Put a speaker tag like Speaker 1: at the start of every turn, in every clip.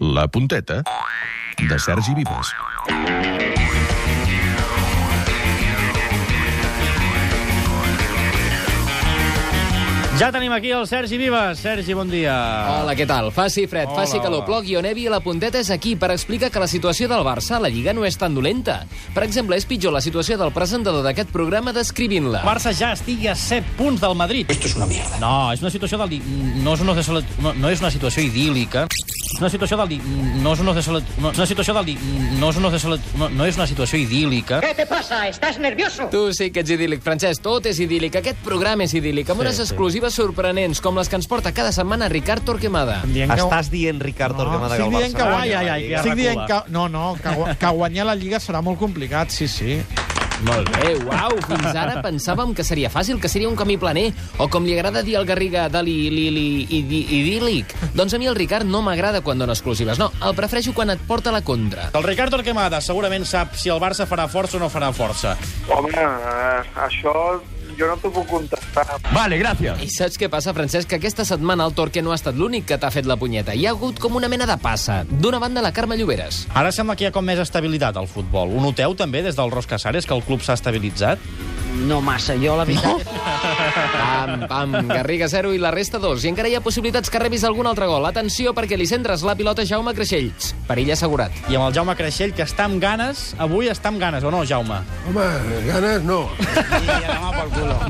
Speaker 1: La punteta de Sergi Vives.
Speaker 2: Ja tenim aquí el Sergi Vives. Sergi, bon dia.
Speaker 3: Hola, què tal? Faci fred, hola, faci calor, plogui o nevi, la punteta és aquí per explicar que la situació del Barça a la Lliga no és tan dolenta. Per exemple, és pitjor la situació del presentador d'aquest programa descrivint-la.
Speaker 2: El Barça ja estigui a 7 punts del Madrid. Esto es una mierda. No, és una situació del... No és una, desol- no, no és una situació idíl·lica. És una situació del... No és una, desol- no, és una situació del... No és una, desol- no, no és una situació idíl·lica.
Speaker 4: ¿Qué te pasa? ¿Estás nervioso?
Speaker 3: Tu sí que ets idíl·lic, Francesc, tot és idíl·lic. Aquest programa és idíl·lic, amb
Speaker 2: Sí,
Speaker 3: sí, unes
Speaker 2: sí.
Speaker 3: exclusives sorprenents, com les que ens porta cada setmana Ricard Torquemada.
Speaker 5: Estàs dient, Ricard Torquemada,
Speaker 6: Estic
Speaker 5: que el
Speaker 6: dient que
Speaker 5: Barça...
Speaker 2: Ai,
Speaker 6: guanya.
Speaker 2: ai, ai, que
Speaker 6: Estic dient que...
Speaker 2: recula.
Speaker 6: No, no, que, gua- que guanyar la Lliga serà molt complicat, sí, sí.
Speaker 2: Molt bé.
Speaker 3: Eh, uau, fins ara pensàvem que seria fàcil, que seria un camí planer, o com li agrada dir al Garriga de li, li, li, idi, idíl·lic. Doncs a mi el Ricard no m'agrada quan dona exclusives, no, el prefereixo quan et porta la contra.
Speaker 2: El Ricard Torquemada segurament sap si el Barça farà força o no farà força.
Speaker 7: Home, eh, això jo no t'ho puc contestar.
Speaker 1: Vale, gràcies.
Speaker 3: I saps què passa, Francesc? Que aquesta setmana el Torque no ha estat l'únic que t'ha fet la punyeta. Hi ha hagut com una mena de passa. D'una banda, la Carme Lloberes.
Speaker 2: Ara sembla que hi ha com més estabilitat al futbol. Ho noteu també des del Ros Casares, que el club s'ha estabilitzat?
Speaker 4: No massa, jo la veritat.
Speaker 3: Pam, pam, Garriga 0 i la resta 2. I encara hi ha possibilitats que rebis algun altre gol. Atenció, perquè li centres la pilota a Jaume Creixells. Perill assegurat.
Speaker 2: I amb el Jaume Creixell, que està amb ganes, avui està amb ganes, o no, Jaume?
Speaker 8: Home, ganes no.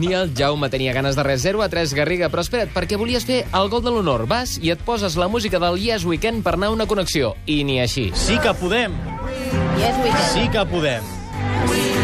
Speaker 3: Ni el Jaume tenia ganes de res. 0 a 3, Garriga. Però espera't, perquè volies fer el gol de l'honor. Vas i et poses la música del Yes Weekend per anar a una connexió. I ni així.
Speaker 2: Sí que podem,
Speaker 9: Yes, we can.
Speaker 2: sí que podem.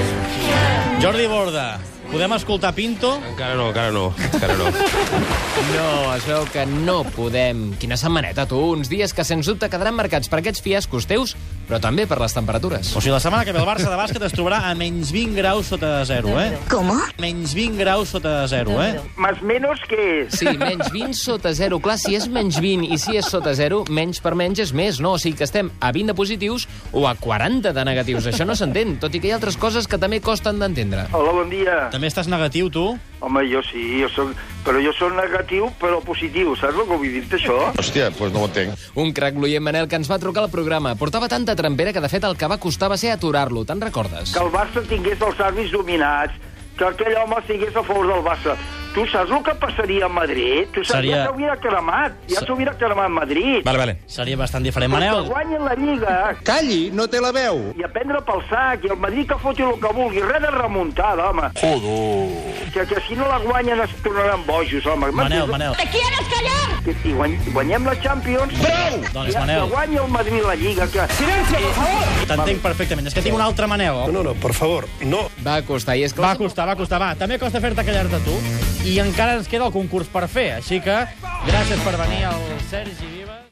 Speaker 2: Jordi Borda, podem escoltar Pinto?
Speaker 5: Encara no, encara no. Encara no.
Speaker 3: No, es veu que no podem. Quina setmaneta, tu. Uns dies que, sens dubte, quedaran marcats per aquests fiascos teus, però també per les temperatures.
Speaker 2: O sigui, la setmana que ve el Barça de bàsquet es trobarà a menys 20 graus sota zero, eh?
Speaker 9: ¿Cómo?
Speaker 2: Menys 20 graus sota zero, eh?
Speaker 7: Més menys que és.
Speaker 3: Sí, menys 20 sota 0. Clar, si és menys 20 i si és sota 0, menys per menys és més, no? O sigui que estem a 20 de positius o a 40 de negatius. Això no s'entén, tot i que hi ha altres coses que també costen d'entendre.
Speaker 7: Hola, bon dia.
Speaker 2: També estàs negatiu, tu?
Speaker 7: Home, jo sí, jo soc... però jo soc negatiu, però positiu. Saps el que vull dir-te, això?
Speaker 8: Hòstia, doncs no ho entenc.
Speaker 3: Un crac, l'oient Manel, que ens va trucar al programa. Portava tanta trempera que, de fet, el que va costar va ser aturar-lo. Te'n recordes?
Speaker 7: Que el Barça tingués els àrbits dominats, que aquell home estigués a favor del Barça. Tu saps el que passaria a Madrid? Tu
Speaker 2: Seria-
Speaker 7: saps Seria... ja t'hauria cremat. Ja
Speaker 2: Se-
Speaker 7: t'hauria cremat Madrid.
Speaker 5: Vale, vale.
Speaker 2: Seria bastant diferent.
Speaker 7: Manel...
Speaker 2: Manel,
Speaker 7: Que guanyin la Lliga eh?
Speaker 8: Calli, no té la veu.
Speaker 7: i a prendre pel sac, i el Madrid que foti el que vulgui. Res de remuntada, home. Jodo. Que, que si no la guanyen es tornaran bojos, home.
Speaker 2: Manel, Manel.
Speaker 9: ¿Te quieres callar?
Speaker 7: I guany, guanyem la Champions. Prou!
Speaker 2: Doncs,
Speaker 7: ja,
Speaker 2: Manel.
Speaker 7: Que guanya el Madrid la Lliga. Que... Silenci, per favor!
Speaker 2: T'entenc perfectament. És que tinc un altre Manel.
Speaker 8: No, no, per favor, no.
Speaker 3: Va costar, i és que...
Speaker 2: Va costar, va costar, va. També costa fer-te callar-te tu. I encara ens queda el concurs per fer, així que gràcies per venir al Sergi Vives.